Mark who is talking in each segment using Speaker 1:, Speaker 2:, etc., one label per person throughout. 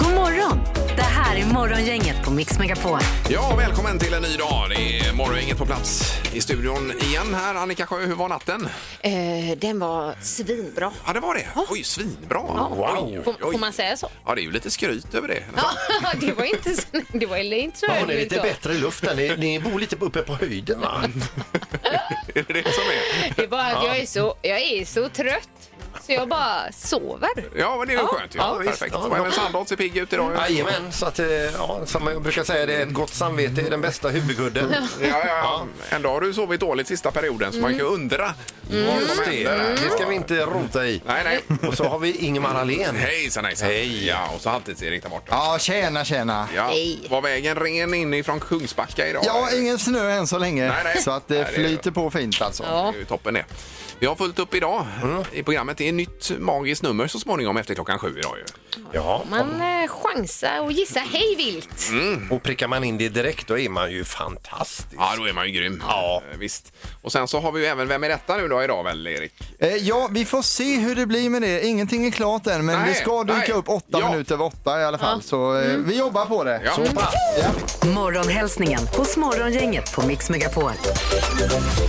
Speaker 1: God morgon! Det här är Morgongänget på Mix Megapol.
Speaker 2: Ja, välkommen till en ny dag. Det är Morgongänget på plats i studion igen här. Annika Sjö, hur var natten?
Speaker 3: Eh, den var svinbra.
Speaker 2: Ja, det var det. Oj, svinbra. Oj, oj,
Speaker 3: Får, får man säga så?
Speaker 2: Ja, det är ju lite skryt över det.
Speaker 3: Ja, det var inte så... Det var inte så
Speaker 4: Ja, ni är lite
Speaker 3: ödmjukt då.
Speaker 4: bättre i luften. Ni, ni bor lite uppe på höjden, va?
Speaker 2: Är det det som är?
Speaker 3: Det är bara att jag är, så, jag är så trött så jag bara sover.
Speaker 2: Ja, men det är ju skönt. ju.
Speaker 4: ja, visst.
Speaker 2: Perfekt.
Speaker 4: Ja,
Speaker 2: Och även
Speaker 4: ja.
Speaker 2: Sandholt ser pigg ut idag. ju.
Speaker 4: Jajamän, så att, eh, ja, som jag brukar säga, det är ett gott samvete är den bästa huvudkudden.
Speaker 2: Ja, ja. Ändå har du sovit dåligt sista perioden, så man kan ju undra. vad som
Speaker 4: Just det,
Speaker 2: händer där.
Speaker 4: det ska vi inte rota i.
Speaker 2: Nej, nej.
Speaker 4: Och så har vi Ingemar Ahlén.
Speaker 2: Hejsan, hejsan. Hej. Ja, och så Halvtids-Erik där borta.
Speaker 5: Ja, tjena, tjena.
Speaker 2: Ja.
Speaker 3: Hej.
Speaker 2: Var vägen ren inifrån Kungsbacka idag?
Speaker 5: Ja, ingen snö än så länge,
Speaker 2: Nej, nej.
Speaker 5: så att
Speaker 2: Nej,
Speaker 5: det
Speaker 2: det är-
Speaker 5: flyter på fint alltså.
Speaker 3: Ja.
Speaker 2: Det är ju toppen det. Vi har fullt upp idag i programmet. Det är ett nytt magiskt nummer så småningom efter klockan sju idag ju.
Speaker 4: Ja,
Speaker 3: Man eh, chansar och gissar hej vilt.
Speaker 4: Mm. och prickar man in det direkt då är man ju fantastisk.
Speaker 2: Ja, då är man ju grym.
Speaker 4: Ja.
Speaker 2: Eh, Visst. Och sen så har vi ju även Vem är detta nu då idag väl, Erik?
Speaker 5: Eh, ja, vi får se hur det blir med det. Ingenting är klart än, men
Speaker 2: Nej,
Speaker 5: det ska dyka
Speaker 2: nej.
Speaker 5: upp åtta
Speaker 2: Ja.
Speaker 5: minuter över åtta i alla fall. Så eh,
Speaker 3: Mm.
Speaker 5: vi jobbar på det.
Speaker 2: Ja.
Speaker 1: Morgonhälsningen hos Morgongänget på Mix Megapol.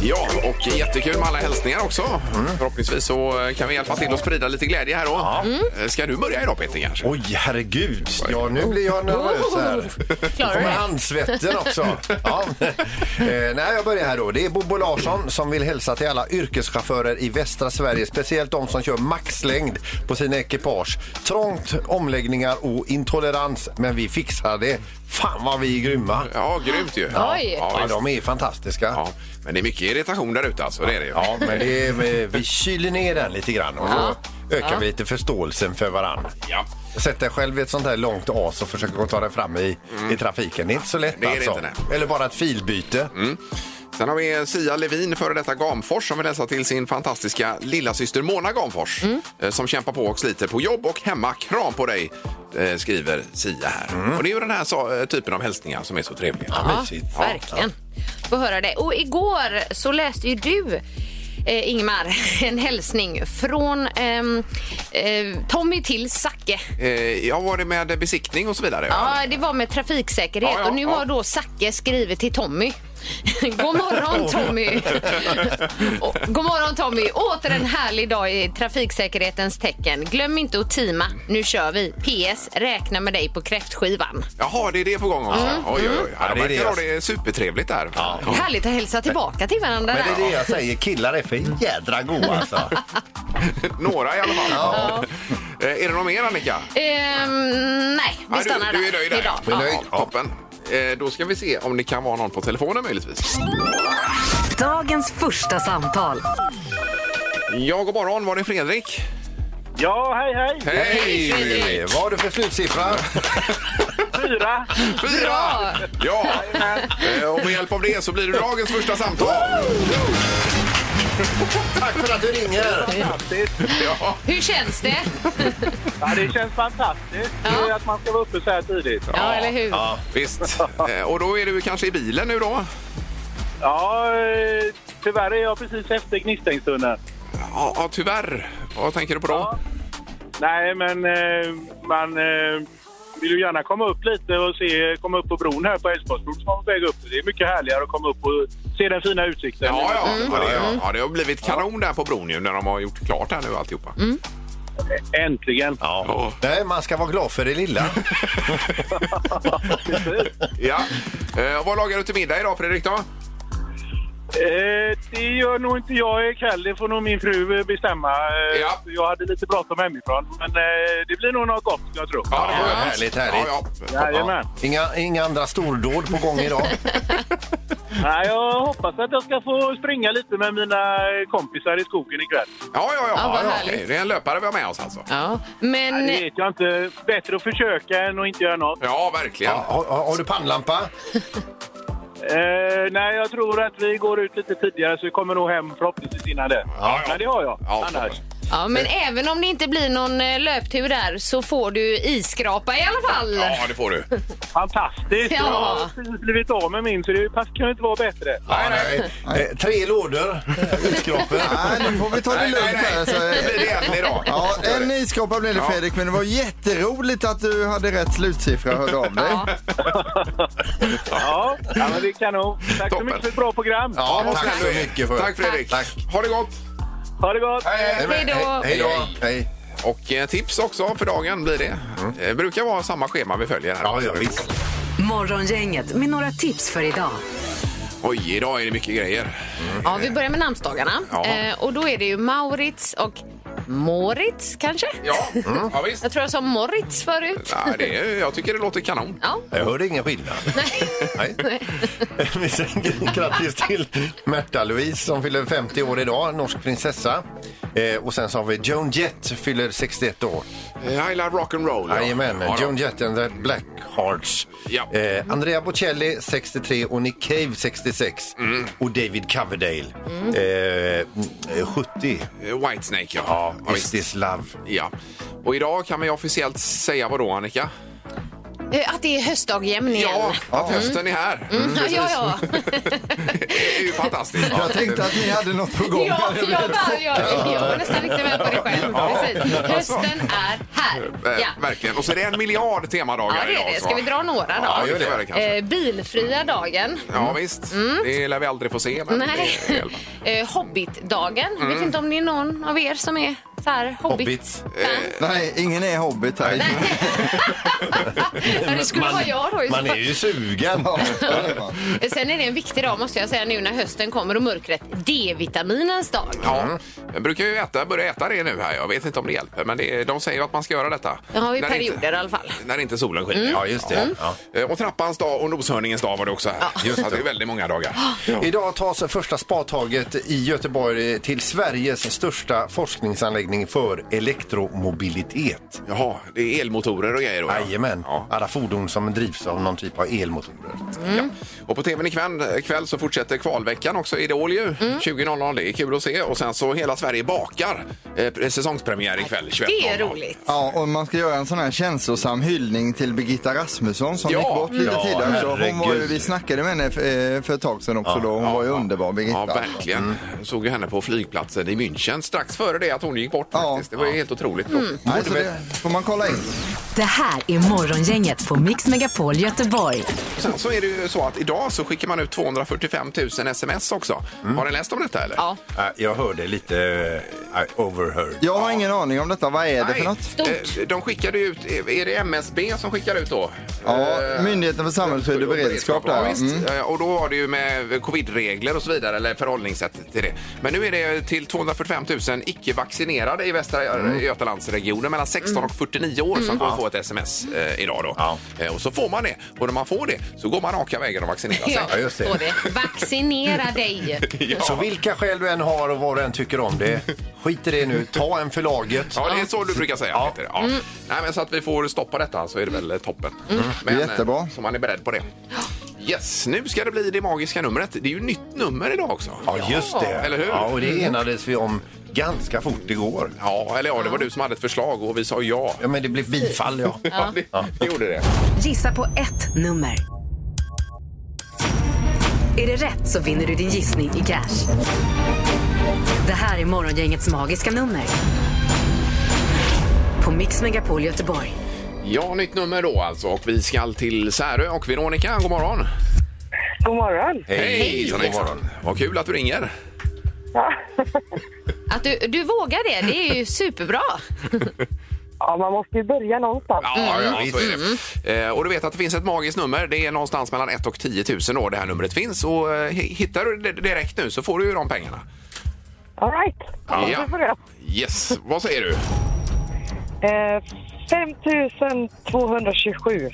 Speaker 2: ja, och jättekul med alla hälsningar också. Förhoppningsvis så eh, kan vi hjälpa till att sprida lite glädje här då. Eh, Ska du börja idag Peter kanske?
Speaker 4: Oj, herregud. Ja, nu blir jag nervös här.
Speaker 3: Oh, Klarar du
Speaker 4: kommer
Speaker 3: det?
Speaker 4: handsvetten också. Ja. Eh, nej, jag börjar här då. Det är Bobo Larsson som vill hälsa till alla yrkeschaufförer i västra Sverige, speciellt de som kör maxlängd på sina ekipage. Trångt, omläggningar och intolerans, men vi fixar det. Fan vad vi är grymma.
Speaker 2: Ja, grymt ju.
Speaker 3: Oj.
Speaker 2: Ja,
Speaker 4: Ja,
Speaker 2: visst.
Speaker 4: de är fantastiska.
Speaker 2: ja, men det är mycket irritation där ute alltså, det är det ju.
Speaker 4: Ja, men det är, vi kyler ner den lite grann och så ökar vi lite förståelsen för varandra.
Speaker 2: Ja.
Speaker 4: Sätt dig själv i ett sånt här långt as och försök att ta dig fram i, i trafiken. Det är inte så lätt
Speaker 2: Det är det
Speaker 4: alltså.
Speaker 2: inte, nej.
Speaker 4: Eller bara ett filbyte.
Speaker 2: Sen har vi Sia Levin, före detta Gamfors, som vill hälsa till sin fantastiska lillasyster Mona Gamfors eh, som kämpar på och sliter på jobb och hemma. Kram på dig, eh, skriver Sia här. Och det är ju den här sa- eh, typen av hälsningar som är så trevliga.
Speaker 4: Mm. Ja, mysigt.
Speaker 3: Verkligen. Få höra det. Och igår så läste ju du Eh, Ingmar, en hälsning från ehm, eh, Tommy till Zacke.
Speaker 2: Eh, Ja, var det med besiktning och så vidare?
Speaker 3: Ja, det var med trafiksäkerhet
Speaker 2: Ja, ja,
Speaker 3: och nu
Speaker 2: ja.
Speaker 3: har då Zacke skrivit till Tommy. God morgon Tommy! Och- God morgon Tommy! Åter en härlig dag i trafiksäkerhetens tecken. Glöm inte att teama. Nu kör vi. PS. Räkna med dig på kräftskivan.
Speaker 2: Jaha, det är det på gång också. Oj, oj, oj. Ja,
Speaker 4: Ja,
Speaker 2: de
Speaker 4: det är
Speaker 2: verkar
Speaker 4: det.
Speaker 2: ha det supertrevligt där. Ja.
Speaker 3: Härligt att hälsa tillbaka till varandra.
Speaker 4: Men det
Speaker 3: där.
Speaker 4: är det jag säger, killar är för jädra goa alltså.
Speaker 2: Några i alla fall. Eh, Är det något mer, Annika?
Speaker 3: Ehm, nej, vi
Speaker 2: Ja,
Speaker 3: stannar
Speaker 2: du, du är nöjd där.
Speaker 3: idag.
Speaker 4: Vi är nöjd.
Speaker 2: Ja, toppen. Eh, Då ska vi se om det kan vara någon på telefonen möjligtvis.
Speaker 1: Dagens första samtal.
Speaker 2: Ja, god morgon. Var det Fredrik?
Speaker 6: Ja, hej, hej!
Speaker 2: Hej!
Speaker 4: Eh, Vad har du för slutsiffra?
Speaker 6: Fyra!
Speaker 2: Fyra! Ja! Eh, Och med hjälp av det så blir det dagens första samtal.
Speaker 4: Tack för att du ringer!
Speaker 6: Fantastiskt!
Speaker 2: Ja,
Speaker 3: Hur känns det?
Speaker 6: Ja, det känns fantastiskt
Speaker 3: Ja.
Speaker 6: eh, att man ska vara uppe så här tidigt.
Speaker 3: Ja, eller hur?
Speaker 2: visst. Eh, Och då är du kanske i bilen nu då?
Speaker 6: Ja, eh, tyvärr är jag precis efter Gnistängstunneln.
Speaker 2: Ja, ja, tyvärr. Vad tänker du på då?
Speaker 6: Ja. Nej, men eh, man eh, vill ju gärna komma upp lite och se, komma upp på bron här på Älvsborgsbron som man väg upp. Det är mycket härligare att komma upp och se den fina utsikten.
Speaker 2: Ja, ja. Ja, det, ja, det har blivit kanon där på bron ju när de har gjort klart här nu alltihopa.
Speaker 6: Äntligen!
Speaker 2: Ja.
Speaker 4: Nej, man ska vara glad för det lilla.
Speaker 6: Precis.
Speaker 2: ja. Eh, Vad lagar du till middag idag Fredrik då?
Speaker 6: Eh, det gör nog inte jag ikväll. Det får nog min fru eh, bestämma. Eh,
Speaker 2: Ja.
Speaker 6: Jag hade lite bråttom hemifrån. Men eh, det blir nog något gott, jag tror.
Speaker 2: Ja,
Speaker 4: Ja, härligt, härligt.
Speaker 2: Ja, ja.
Speaker 6: Jajamän.
Speaker 4: Inga, inga andra stordåd på gång idag.
Speaker 6: Nej, jag hoppas att jag ska få springa lite med mina kompisar i skogen ikväll.
Speaker 2: Ja, ja, ja.
Speaker 3: Ja, vad
Speaker 2: ja,
Speaker 3: härligt.
Speaker 2: okej. Det är en löpare vi har med oss alltså.
Speaker 3: Ja,
Speaker 6: Nej,
Speaker 3: men...
Speaker 6: det vet jag inte. Bättre att försöka än att inte göra något.
Speaker 2: Ja, verkligen.
Speaker 4: Ja, har, har har du pannlampa?
Speaker 6: Eh, nej, jag tror att vi går ut lite tidigare så vi kommer nog hem förhoppningsvis innan det.
Speaker 2: Ja, ja.
Speaker 6: Men det har jag.
Speaker 2: Ja,
Speaker 6: Annars.
Speaker 3: Ja, men även om det inte blir någon eh, löptur där så får du isskrapa i alla fall.
Speaker 2: Ja, det får du.
Speaker 6: Fantastiskt!
Speaker 3: Ja.
Speaker 6: Jag har precis blivit av med min så det pass kan ju inte vara bättre.
Speaker 4: Nej, nej. Eh, tre lådor eh, isskrapor.
Speaker 5: Nej, nu får vi ta det
Speaker 2: Nej, nej,
Speaker 5: lugnt här. Så,
Speaker 2: nej.
Speaker 5: eh,
Speaker 2: Det blir det en idag.
Speaker 5: Ja, en nyskrapa blev det Fredrik, men det var jätteroligt att du hade rätt slutsiffra och hörde av dig.
Speaker 3: Ja.
Speaker 6: Ja, ja men det är kanon. Tack så
Speaker 2: Toppen.
Speaker 6: mycket för ett bra program.
Speaker 4: Ja,
Speaker 2: Vad
Speaker 4: tack
Speaker 2: snäll
Speaker 4: så
Speaker 2: du är.
Speaker 4: mycket för
Speaker 2: Tack Fredrik.
Speaker 4: Tack.
Speaker 2: Ha det gott.
Speaker 6: Ha det gott!
Speaker 4: Nej, men,
Speaker 3: Hej då.
Speaker 4: Hej då. Hej.
Speaker 2: Och eh, tips också för dagen blir det. Det brukar vara samma schema vi följer här.
Speaker 4: Ja, ja, visst.
Speaker 1: Morgongänget med några tips för idag.
Speaker 2: Oj, idag är det mycket grejer.
Speaker 3: Ja, vi börjar med namnsdagarna.
Speaker 2: Ja.
Speaker 3: Eh, och då är det ju Maurits och Moritz kanske?
Speaker 2: Ja, ja visst.
Speaker 3: Jag tror jag sa Moritz förut.
Speaker 2: Mm. Ja, det är, jag tycker det låter kanon.
Speaker 3: Ja.
Speaker 4: Jag hörde ingen skillnad. Nej. Vi säger grattis till Märta-Louise som fyller 50 år idag, norsk prinsessa. Eh, och sen så har vi Joan Jett fyller 61 år.
Speaker 2: Eh, I love rock'n'roll.
Speaker 4: Jajamän,
Speaker 2: ja,
Speaker 4: Joan Jett and the Blackhearts.
Speaker 2: Ja.
Speaker 4: Eh, Andrea Bocelli 63 och Nick Cave 66.
Speaker 2: Mm.
Speaker 4: Och David Coverdale eh, 70.
Speaker 2: då. eh, Whitesnake, ja.
Speaker 4: Ja,
Speaker 2: ja,
Speaker 4: Is
Speaker 2: visst.
Speaker 4: this love?
Speaker 2: ja. Och idag kan man ju officiellt säga vad då, Annika?
Speaker 3: Eh, Att det är höstdagjämn igen.
Speaker 2: Ja, att hösten är här.
Speaker 3: Mm, ja, ja.
Speaker 2: Det är ju fantastiskt.
Speaker 5: Jag tänkte att ni hade något på gång.
Speaker 3: Ja, jag, bara, jag, jag var nästan inte med på det själv. Precis. Hösten är här.
Speaker 2: Eh,
Speaker 3: Ja.
Speaker 2: Verkligen. Och så är det en miljard temadagar
Speaker 3: Ja, det
Speaker 2: idag.
Speaker 3: är det.
Speaker 2: så-
Speaker 3: Ska vi dra några
Speaker 2: Ja,
Speaker 3: då?
Speaker 2: vi kan göra det kanske.
Speaker 3: Eh, bilfria dagen.
Speaker 2: Ja, visst. Det lär vi aldrig få se. Men
Speaker 3: Mm. Nej.
Speaker 2: Det är väl-
Speaker 3: Eh, Hobbit-dagen. Jag vet inte om det är någon av er som är så här hobbit.
Speaker 4: Hobbit.
Speaker 5: Nej, ingen är hobbit här.
Speaker 3: Ja, Det skulle vara jag då. i så
Speaker 4: Man är
Speaker 3: fall.
Speaker 4: ju sugen.
Speaker 5: Ja, det är bra.
Speaker 3: Sen är det en viktig dag måste jag säga nu när hösten kommer och mörkret. D-vitaminens dag.
Speaker 2: Ja, Mm. jag brukar ju äta, börja äta det nu här. Jag vet inte om det hjälper, men det, de säger att man ska göra detta.
Speaker 3: Ja, i
Speaker 2: När det inte-
Speaker 3: perioder alltså. Mm. i alla fall.
Speaker 2: När inte solen skiner.
Speaker 4: Ja, just det. Ja.
Speaker 2: Eh, Och trappans dag och noshörningens dag var det också här. Just det. det är väldigt många dagar.
Speaker 4: Idag tas första spadtaget i Göteborg till Sveriges största forskningsanläggning för elektromobilitet.
Speaker 2: Jaha, det är elmotorer och grejer då. ja.
Speaker 4: Jajamän,
Speaker 2: Ja.
Speaker 4: alla fordon som drivs av någon typ av elmotorer.
Speaker 3: Mm.
Speaker 2: Ja. Och på tvn ikväll kväll så fortsätter kvalveckan också i Idol ju.
Speaker 3: Mm.
Speaker 2: 20.00, det är kul att se. Och sen så Hela Sverige bakar, eh, säsongspremiär ikväll 21.00.
Speaker 3: Det är roligt.
Speaker 5: Ja, och man ska göra en sån här känslosam hyllning till Birgitta Rasmusson som
Speaker 2: Ja.
Speaker 5: gick bort lite
Speaker 4: Ja,
Speaker 5: tidigare. Så hon var ju,
Speaker 4: herregud.
Speaker 5: vi snackade med henne för, eh, för ett tag sedan också då. Hon var ju underbar Birgitta.
Speaker 2: Ja, verkligen.
Speaker 5: Mm.
Speaker 2: Jag såg ju henne på flygplatsen i München strax före det att hon gick bort
Speaker 5: Ja. Mm.
Speaker 2: faktiskt. Det var ju helt otroligt.
Speaker 5: Nej, så det får man kolla in.
Speaker 1: Det här är Morgongänget på Mix Megapol Göteborg.
Speaker 2: Och sen så är det ju så att idag så skickar man ut 245 000 sms också.
Speaker 5: Mm.
Speaker 2: Har ni läst om detta eller?
Speaker 3: Ja.
Speaker 4: Äh, Jag hörde lite eh, overheard.
Speaker 5: Jag har ingen aning om detta. Vad är det för
Speaker 2: Nej,
Speaker 5: något?
Speaker 2: eh, de skickade ut, är det MSB som skickar ut då?
Speaker 5: Ja,
Speaker 2: Eh,
Speaker 5: Myndigheten för samhällsskydd och beredskap
Speaker 2: Ja,
Speaker 5: där.
Speaker 2: visst.
Speaker 5: Mm.
Speaker 2: Eh, Och då var det ju med covidregler och så vidare, eller förhållningssätt till det. Men nu är det till 245 000 icke-vaccinerade i Västra
Speaker 4: Mm.
Speaker 2: Götalandsregionen mellan 16 och 49 år som kommer få ett sms eh, idag då.
Speaker 4: Ja.
Speaker 2: Eh, och så får man det. Och när man får det så går man raka vägen och vaccinerar sig.
Speaker 4: Ja, just det.
Speaker 3: står det. Vaccinera dig.
Speaker 4: Så vilka skäl du än har och vad du än tycker om det, skit i det nu. Ta en för laget.
Speaker 2: Ja, det är så du brukar säga.
Speaker 4: Ja. Mm.
Speaker 2: Peter. Ja. Nej, men så att vi får stoppa detta så är det väl eh, toppen. Men,
Speaker 5: Jättebra.
Speaker 2: eh, Så man är beredd på det. Yes, nu ska det bli det magiska numret. Det är ju nytt nummer idag också.
Speaker 4: Ja, just det.
Speaker 2: Eller hur?
Speaker 4: Ja, och det enades vi om ganska fort igår.
Speaker 2: Ja, eller ja, det var du som hade ett förslag och vi sa ja.
Speaker 4: Ja, men det blev bifall, ja.
Speaker 2: Ja, det, det gjorde det.
Speaker 1: Gissa på ett nummer. Är det rätt så vinner du din gissning i cash. Det här är Morgongängets magiska nummer. På Mix Megapol Göteborg.
Speaker 2: Ja, nytt nummer då alltså. Och vi ska till Särö och Veronica. God morgon!
Speaker 7: God morgon.
Speaker 2: Hej! God morgon. Vad kul att du ringer.
Speaker 7: Ja.
Speaker 3: Att du, du vågar det, det är ju superbra.
Speaker 7: ja, man måste ju börja någonstans.
Speaker 2: Ja, ja så är det. Eh, och du vet att det finns ett magiskt nummer. Det är någonstans mellan 1 och 10 000 då det här numret finns. Och eh, hittar du det direkt nu så får du ju de pengarna.
Speaker 7: All right. Ja.
Speaker 2: Ja.
Speaker 7: vi får det.
Speaker 2: Yes, vad säger du?
Speaker 7: Eh, 5 227.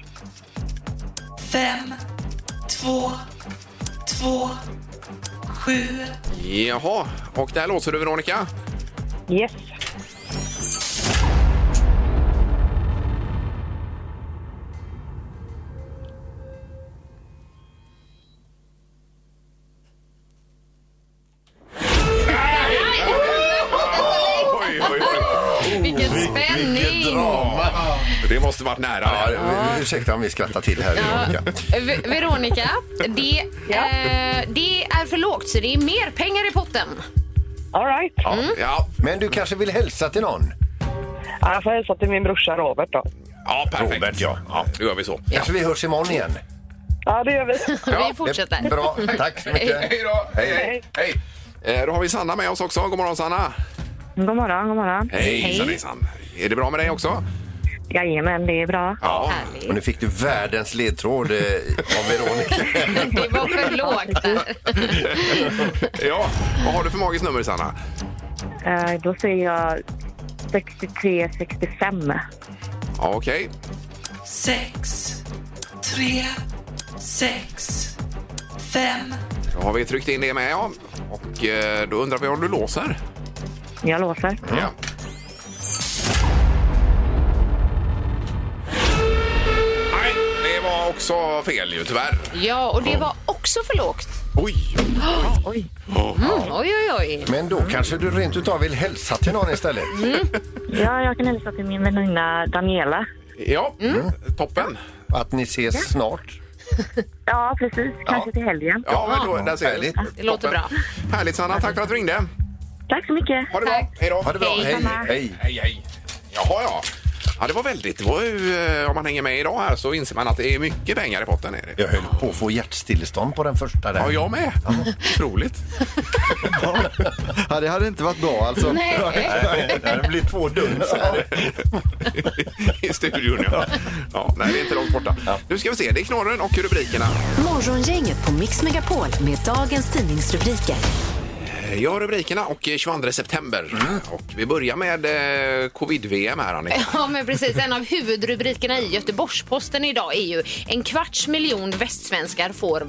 Speaker 8: två, sju.
Speaker 2: Jaha, och där låter du Veronica.
Speaker 7: Yes.
Speaker 2: Oj, oj, oj.
Speaker 3: Vilken spänning!
Speaker 2: Det måste varit nära.
Speaker 4: Ja, ursäkta om vi skrattar till här.
Speaker 3: Ja.
Speaker 4: Veronica.
Speaker 3: Ve- Veronica, det, eh, det är för lågt så det är mer pengar i potten.
Speaker 7: All right.
Speaker 4: Ja. Men du kanske vill hälsa till någon?
Speaker 7: Ja, jag får hälsa till min brorsa Robert då.
Speaker 2: Ja, perfekt. Robert, ja. ja. Då gör vi så.
Speaker 4: Kanske vi hörs imorgon igen.
Speaker 7: Ja, det gör vi.
Speaker 3: vi fortsätter.
Speaker 4: Bra, tack
Speaker 5: Mm.
Speaker 4: så mycket.
Speaker 2: Hej då! Hej, hej. hej. Eh, Då har vi Sanna med oss också. God morgon Sanna!
Speaker 9: God morgon, god morgon.
Speaker 2: Hejsan, hejsan. Är det bra med dig också?
Speaker 9: Jajamän, det är bra.
Speaker 2: Ja.
Speaker 4: Och nu fick du världens ledtråd eh, av Veronica.
Speaker 3: Det var för lågt. där.
Speaker 2: ja, vad har du för magiskt nummer Sanna?
Speaker 9: Eh, Då säger jag 63, 65.
Speaker 2: Ja, okej.
Speaker 8: Sex, tre, sex, fem.
Speaker 2: Då har vi tryckt in det med ja. Och eh, då undrar vi om du låser?
Speaker 9: Jag låser.
Speaker 2: Ja. Nej, det var också fel ju tyvärr.
Speaker 3: Ja, och det var också för lågt.
Speaker 2: Oj!
Speaker 3: Oj, mm, oj, oj. oj.
Speaker 4: Men då kanske du rent utav vill hälsa till någon istället?
Speaker 9: Mm. Ja, jag kan hälsa till min väninna Daniela.
Speaker 2: Ja,
Speaker 9: Mm.
Speaker 2: toppen.
Speaker 4: Att ni ses snart.
Speaker 9: Ja, precis. Kanske till helgen.
Speaker 2: Ja, men då, där ser du.
Speaker 3: Det låter bra.
Speaker 2: Härligt Sanna, tack för att du ringde.
Speaker 9: Tack så mycket.
Speaker 2: Ha det bra. Hej då.
Speaker 4: Ha det bra. Hej.
Speaker 9: Samma.
Speaker 4: Hej.
Speaker 2: Hej, hej. Jaha, ja. Ja, det var väldigt. Det var ju, eh, om man hänger med idag här så inser man att det är mycket pengar i potten. Är det.
Speaker 4: Jag höll på att få hjärtstillestånd på den första
Speaker 2: Ja,
Speaker 4: där.
Speaker 2: jag med. Otroligt.
Speaker 5: Ja, det hade inte varit bra alltså.
Speaker 3: Nej.
Speaker 4: Det blir två duns här.
Speaker 2: I studion, ja. ja. Nej, det är inte långt borta. Nu ska vi se. Det är knorren och rubrikerna.
Speaker 1: Morgongänget på Mix Megapol med dagens tidningsrubriker.
Speaker 2: Eh, Ja, rubrikerna och eh, 22 september. Och vi börjar med eh, covid-VM här, Annika.
Speaker 3: Ja, men precis. En av huvudrubrikerna i Göteborgs-Posten idag är ju en kvarts miljon västsvenskar får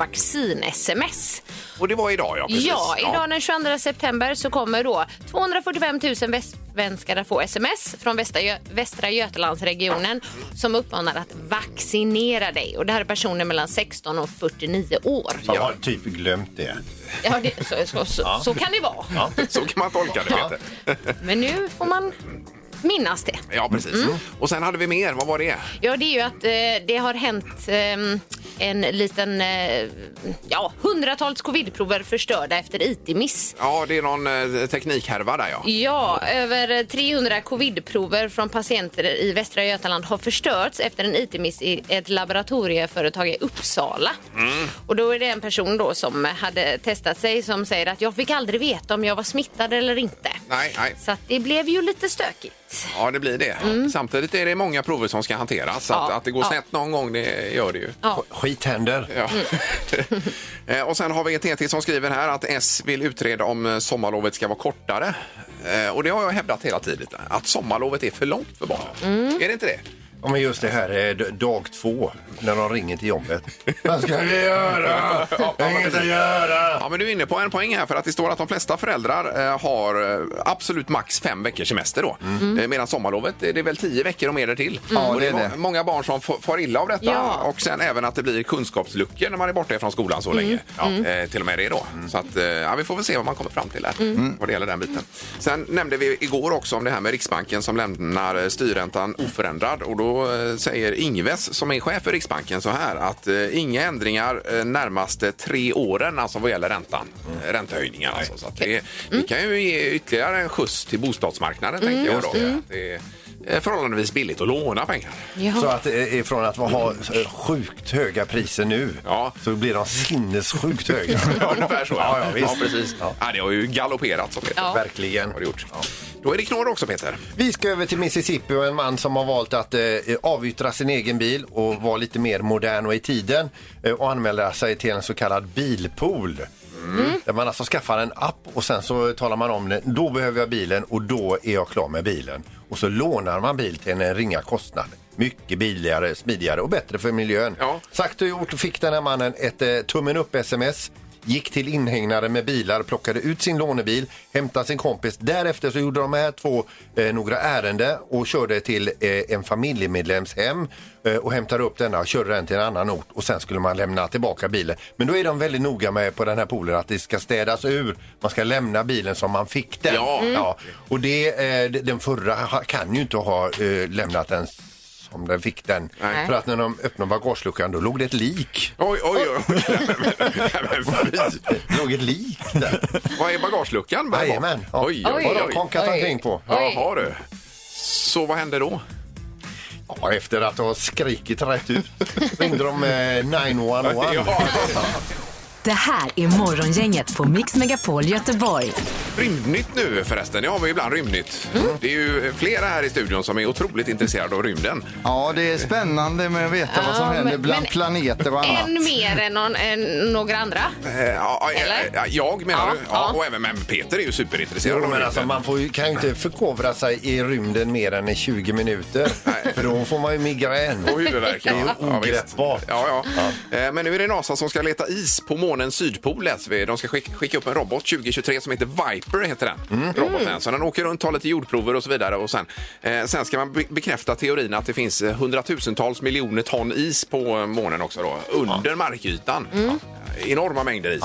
Speaker 3: vaccin-sms.
Speaker 2: Och det var idag, ja. Precis.
Speaker 3: Ja, idag den 22 september så kommer då 245 000 västsvenskar att få sms från Västra, Gö- Västra Götalandsregionen som uppmanar att vaccinera dig. Och det här är personer mellan 16 och 49 år.
Speaker 4: Jag har typ glömt det.
Speaker 3: Ja, det, så, så, så, så kan det vara.
Speaker 2: Så kan man tolka det, Peter.
Speaker 3: Men nu får man minnas det.
Speaker 2: Ja, precis.
Speaker 3: Mm.
Speaker 2: Och sen hade vi mer. Vad var det?
Speaker 3: Ja, det är ju att eh, det har hänt ehm, en liten, eh, ja, hundratals covidprover förstörda efter IT-miss.
Speaker 2: Ja, det är någon eh, teknikhärva där, ja.
Speaker 3: Ja, över 300 covidprover från patienter i Västra Götaland har förstörts efter en IT-miss i ett laboratorieföretag i Uppsala. Och då är det en person då som hade testat sig som säger att jag fick aldrig veta om jag var smittad eller inte.
Speaker 2: Nej, nej.
Speaker 3: Så att det blev ju lite stökigt.
Speaker 2: Ja, det blir det. Samtidigt är det många prover som ska hanteras. Så att,
Speaker 3: Mm. Ja.
Speaker 2: att det går
Speaker 3: Ja.
Speaker 2: snett någon gång, det gör det ju.
Speaker 3: Ja. Mm.
Speaker 4: Skit händer.
Speaker 2: Ja. Eh, och sen har vi TT som skriver här att S vill utreda om eh, sommarlovet ska vara kortare. Eh, Och det har jag hävdat hela tiden, att sommarlovet är för långt för barnen.
Speaker 3: Mm.
Speaker 2: Är det inte det?
Speaker 4: Ja, men just det här eh, d- dag två, när de ringer till jobbet. Vad ska vi göra? Jag har inget att göra.
Speaker 2: Ja, men du är inne på en poäng här för att det står att de flesta föräldrar eh, har eh, absolut max fem veckors semester då. Eh, Medan sommarlovet eh, det är väl tio veckor och mer där till. och det är
Speaker 5: det är
Speaker 2: må-
Speaker 5: det.
Speaker 2: många barn som f- far illa av detta
Speaker 3: Ja.
Speaker 2: och sen även att det blir kunskapsluckor när man är borta från skolan så länge. Ja, eh, till och med det då. Så att, eh, ja, vi får väl se vad man kommer fram till här vad det gäller den biten. Sen nämnde vi igår också om det här med Riksbanken som lämnar eh, styrräntan oförändrad och då eh, säger Ingves som är chef för Riksbanken så här att eh, inga ändringar eh, närmaste tre åren alltså vad gäller räntan. Eh, Räntehöjningar alltså. Så att det, det kan ju ge ytterligare en skjuts till bostadsmarknaden tänker jag då. Att Det är eh, förhållandevis billigt att låna pengar.
Speaker 4: Så att eh, ifrån att ha eh, sjukt höga priser nu
Speaker 2: Ja.
Speaker 4: så blir de sinnessjukt höga.
Speaker 2: Ja, ungefär så.
Speaker 4: Ja, ja, visst.
Speaker 2: precis. Ja.
Speaker 4: Ja.
Speaker 2: det har ju galopperat som heter.
Speaker 3: Ja.
Speaker 4: Verkligen.
Speaker 2: Har det gjort. Då är det knorr också Peter.
Speaker 4: Vi ska över till Mississippi och en man som har valt att eh, avyttra sin egen bil och vara lite mer modern och i tiden eh, och anmäla sig till en så kallad bilpool. Där man alltså skaffar en app och sen så talar man om det. Då behöver jag bilen och då är jag klar med bilen. Och så lånar man bil till en ringa kostnad. Mycket billigare, smidigare och bättre för miljön.
Speaker 2: Ja.
Speaker 4: Sagt och gjort fick den här mannen ett eh, tummen upp-sms gick till inhägnare med bilar, plockade ut sin lånebil, hämtade sin kompis. Därefter så gjorde de här två eh, några ärende och körde till eh, en familjemedlems hem eh, och hämtade upp denna och körde den till en annan ort och sen skulle man lämna tillbaka bilen. Men då är de väldigt noga med på den här poolen att det ska städas ur. Man ska lämna bilen som man fick den.
Speaker 2: Ja. Mm.
Speaker 4: Och det, eh, d- den förra ha- kan ju inte ha eh, lämnat den som den fick den.
Speaker 2: Nej.
Speaker 4: För att när de öppnade bagageluckan då låg det ett lik.
Speaker 2: Oj, oj, oj.
Speaker 4: låg ett lik där.
Speaker 2: Vad är bagageluckan? Bara bak?
Speaker 4: Jajamän. Ja.
Speaker 2: Oj, oj,
Speaker 4: Vad
Speaker 2: oj.
Speaker 4: de konkat omkring på.
Speaker 2: Ja, har du. Så vad hände då?
Speaker 4: Ja, efter att ha skrikit rätt ut ringde de eh, 911.
Speaker 1: Det här är Morgongänget på Mix Megapol Göteborg.
Speaker 2: Rymdnytt nu förresten. Det har vi ibland rymdnytt.
Speaker 3: Mm.
Speaker 2: Det är ju flera här i studion som är otroligt intresserade av rymden.
Speaker 5: Ja, det är spännande med att veta vad som
Speaker 3: Ja,
Speaker 5: händer
Speaker 3: men-
Speaker 5: bland
Speaker 3: men-
Speaker 5: planeter och annat.
Speaker 3: En mer än, någon, än några andra.
Speaker 2: Eh, ja, eh,
Speaker 3: Eller?
Speaker 2: ja, Jag menar
Speaker 3: Ja,
Speaker 2: du? Ja,
Speaker 3: ja.
Speaker 2: Och även men Peter är ju superintresserad
Speaker 4: Jo,
Speaker 2: av
Speaker 4: men
Speaker 2: rymden.
Speaker 4: alltså, man får, ju- kan ju inte förkovra sig i rymden mer än i 20 minuter. För då får man ju migrän.
Speaker 2: Och huvudvärk.
Speaker 4: Det är ju
Speaker 2: Ja, visst.
Speaker 4: ogreppbart.
Speaker 2: Ja, ja. Eh, Men nu är det NASA som ska leta is på månens sydpol. läser vi. De ska skick- skicka upp en robot 2023 som heter Viper. heter den. Roboten. Så den åker runt, tar lite jordprover och så vidare. Och sen, eh, sen ska man be- bekräfta teorin att det finns eh, hundratusentals miljoner ton is på eh, månen också då, under markytan. Ja. Enorma mängder is.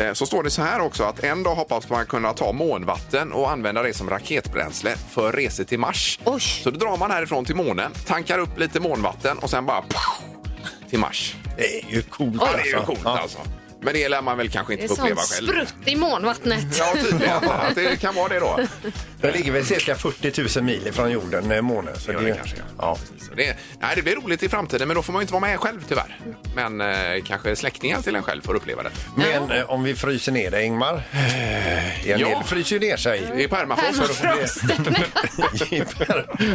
Speaker 2: Eh, Så står det så här också att en dag hoppas man kunna ta månvatten och använda det som raketbränsle för resor till Mars. Så då drar man härifrån till månen, tankar upp lite månvatten och sen bara pow, till Mars.
Speaker 4: Det är ju coolt
Speaker 2: Ja, det är ju coolt alltså. Men det lär man väl kanske
Speaker 3: Det
Speaker 2: inte
Speaker 3: är
Speaker 2: få uppleva
Speaker 3: sånt
Speaker 2: själv.
Speaker 3: sprutt i månvattnet.
Speaker 2: Ja, tydligen. Att det kan vara det då.
Speaker 4: Den ligger väl cirka 40 000 mil från jorden, eh, månen. Så
Speaker 2: Ja, det kanske gör.
Speaker 4: ja.
Speaker 2: Så det, nej, det blir roligt i framtiden, men då får man ju inte vara med själv tyvärr. Men eh, kanske släktingar till en själv får uppleva det.
Speaker 4: Men eh, om vi fryser ner dig, Ingmar. Eh, En
Speaker 2: Ja.
Speaker 4: del fryser ju ner
Speaker 2: Det
Speaker 4: sig.
Speaker 2: är permafrost.
Speaker 3: Permafrost.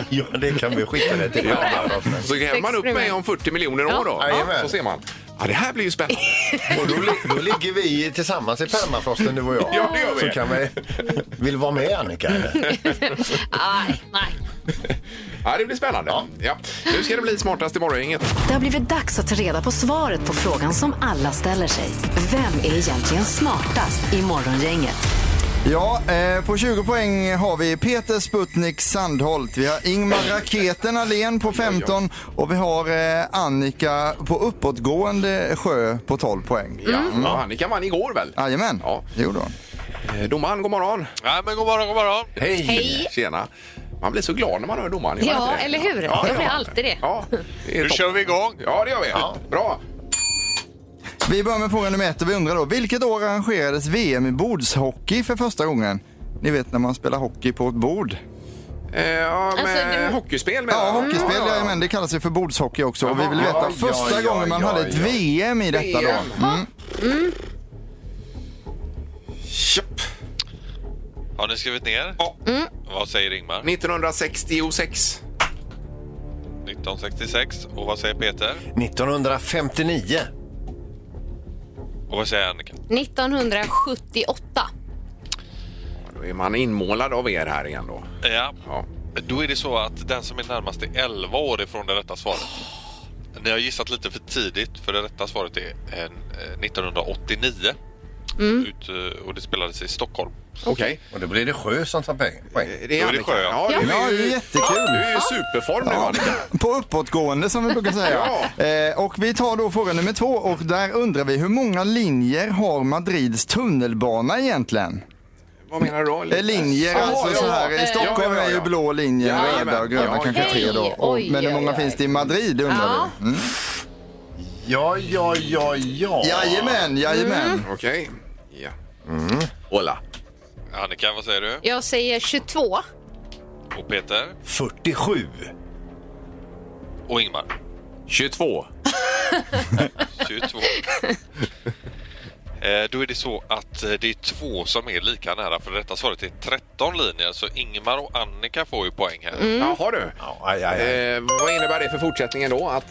Speaker 4: ja, det kan vi skicka det till. Ja.
Speaker 2: Så gräver man upp mig om 40 miljoner år då.
Speaker 4: Jajamän.
Speaker 2: Så ser man. Ja, det här blir ju spännande.
Speaker 4: Och då, li- då ligger vi tillsammans i permafrosten, du och jag.
Speaker 2: Ja, det gör vi.
Speaker 4: Så kan vi... Vill du vara med, Annika? eller?
Speaker 3: Nej, nej.
Speaker 2: Ja, det blir spännande. Ja. Nu ska det bli smartast i morgongänget.
Speaker 1: Det har blivit dags att ta reda på svaret på frågan som alla ställer sig. Vem är egentligen smartast i Morgongänget?
Speaker 5: Ja, eh, på 20 poäng har vi Peter Sputnik Sandholt, vi har Ingmar Raketen Alén på 15 och vi har eh, Annika på uppåtgående sjö på 12 poäng.
Speaker 2: Ja, ja, Annika vann igår väl?
Speaker 5: Jajamän,
Speaker 2: Ja.
Speaker 5: det gjorde hon.
Speaker 2: Eh, Domaren, god morgon.
Speaker 10: Ja, men god morgon, god morgon.
Speaker 4: Hej!
Speaker 3: Hej.
Speaker 2: Tjena. Man blir så glad när man hör domaren. gör man
Speaker 3: Ja,
Speaker 2: inte det?
Speaker 3: eller hur?
Speaker 2: Ja,
Speaker 3: Jag
Speaker 2: ja.
Speaker 3: blir alltid det.
Speaker 2: Ja, det är
Speaker 10: Nu
Speaker 2: topp.
Speaker 10: kör vi igång.
Speaker 2: Ja, det gör vi. Bra.
Speaker 5: Vi börjar med fråga nummer ett och vi undrar då, vilket år arrangerades VM i bordshockey för första gången? Ni vet när man spelar hockey på ett bord.
Speaker 2: Eh, ja, med
Speaker 3: Alltså, du-
Speaker 2: hockeyspel menar
Speaker 5: Ja,
Speaker 2: jag.
Speaker 5: hockeyspel,
Speaker 2: Ja, ja.
Speaker 5: jajamän, det kallas ju för bordshockey också. Och vi
Speaker 2: Jaha.
Speaker 5: vill veta
Speaker 4: Ja, ja,
Speaker 5: första
Speaker 4: ja,
Speaker 5: gången man
Speaker 4: ja,
Speaker 5: hade ett
Speaker 4: ja.
Speaker 5: VM i detta
Speaker 2: VM.
Speaker 5: då. Mm.
Speaker 2: Tjopp.
Speaker 10: Har ni skrivit ner?
Speaker 2: Ja.
Speaker 3: Mm.
Speaker 10: Vad säger Ingmar?
Speaker 2: 1966.
Speaker 10: 1966. Och vad säger Peter?
Speaker 4: 1959.
Speaker 10: Och vad säger Annika?
Speaker 3: 1978.
Speaker 2: Då är man inmålad av er här igen då.
Speaker 10: Ja.
Speaker 2: Ja.
Speaker 10: Då är det så att den som är närmast är 11 år ifrån det rätta svaret. Ni har gissat lite för tidigt för det rätta svaret är eh, 1989.
Speaker 3: Mm.
Speaker 10: Ut, eh, och det spelades i Stockholm.
Speaker 2: Okej. Eh,
Speaker 4: Och då blir det sjö som tar pengar. poäng.
Speaker 2: Det är
Speaker 10: Då är det
Speaker 2: Annika.
Speaker 10: sjö,
Speaker 2: ja.
Speaker 10: ja.
Speaker 2: du
Speaker 5: Ja,
Speaker 2: är
Speaker 5: det är
Speaker 2: ju
Speaker 5: jättekul.
Speaker 2: du är ju i superform nu Annika.
Speaker 5: På uppåtgående som vi brukar säga. eh, och vi tar då fråga nummer två och där undrar vi hur många linjer har Madrids tunnelbana egentligen?
Speaker 2: Vad menar du då?
Speaker 5: Eh, linjer,
Speaker 2: Ja,
Speaker 5: alltså
Speaker 2: ja,
Speaker 5: så
Speaker 2: ja.
Speaker 5: här.
Speaker 2: Ja,
Speaker 5: I Stockholm
Speaker 2: ja, ja,
Speaker 5: är ju
Speaker 2: ja.
Speaker 5: blå linjer,
Speaker 2: Ja,
Speaker 5: röda och
Speaker 2: jajamän.
Speaker 5: gröna
Speaker 2: Ja,
Speaker 5: kanske
Speaker 2: okej.
Speaker 5: tre då. Och,
Speaker 3: Oj,
Speaker 5: men hur
Speaker 3: oj,
Speaker 5: många
Speaker 3: oj.
Speaker 5: finns det i Madrid undrar
Speaker 3: Ja.
Speaker 5: vi? Mm.
Speaker 4: Ja, ja, ja, ja.
Speaker 5: Jajamän, jajamän.
Speaker 2: Mm. Okej. Ja. Hola.
Speaker 10: Annika, vad säger du?
Speaker 3: Jag säger 22.
Speaker 10: Och Peter?
Speaker 4: 47.
Speaker 10: Och Ingmar?
Speaker 2: 22.
Speaker 10: 22. Eh, Då är det så att eh, det är två som är lika nära för det rätta svaret är 13 linjer så Ingmar och Annika får ju poäng här.
Speaker 3: Mm.
Speaker 2: Jaha du.
Speaker 4: Ja, aj, aj, aj.
Speaker 2: Eh, vad innebär det för fortsättningen då? Att,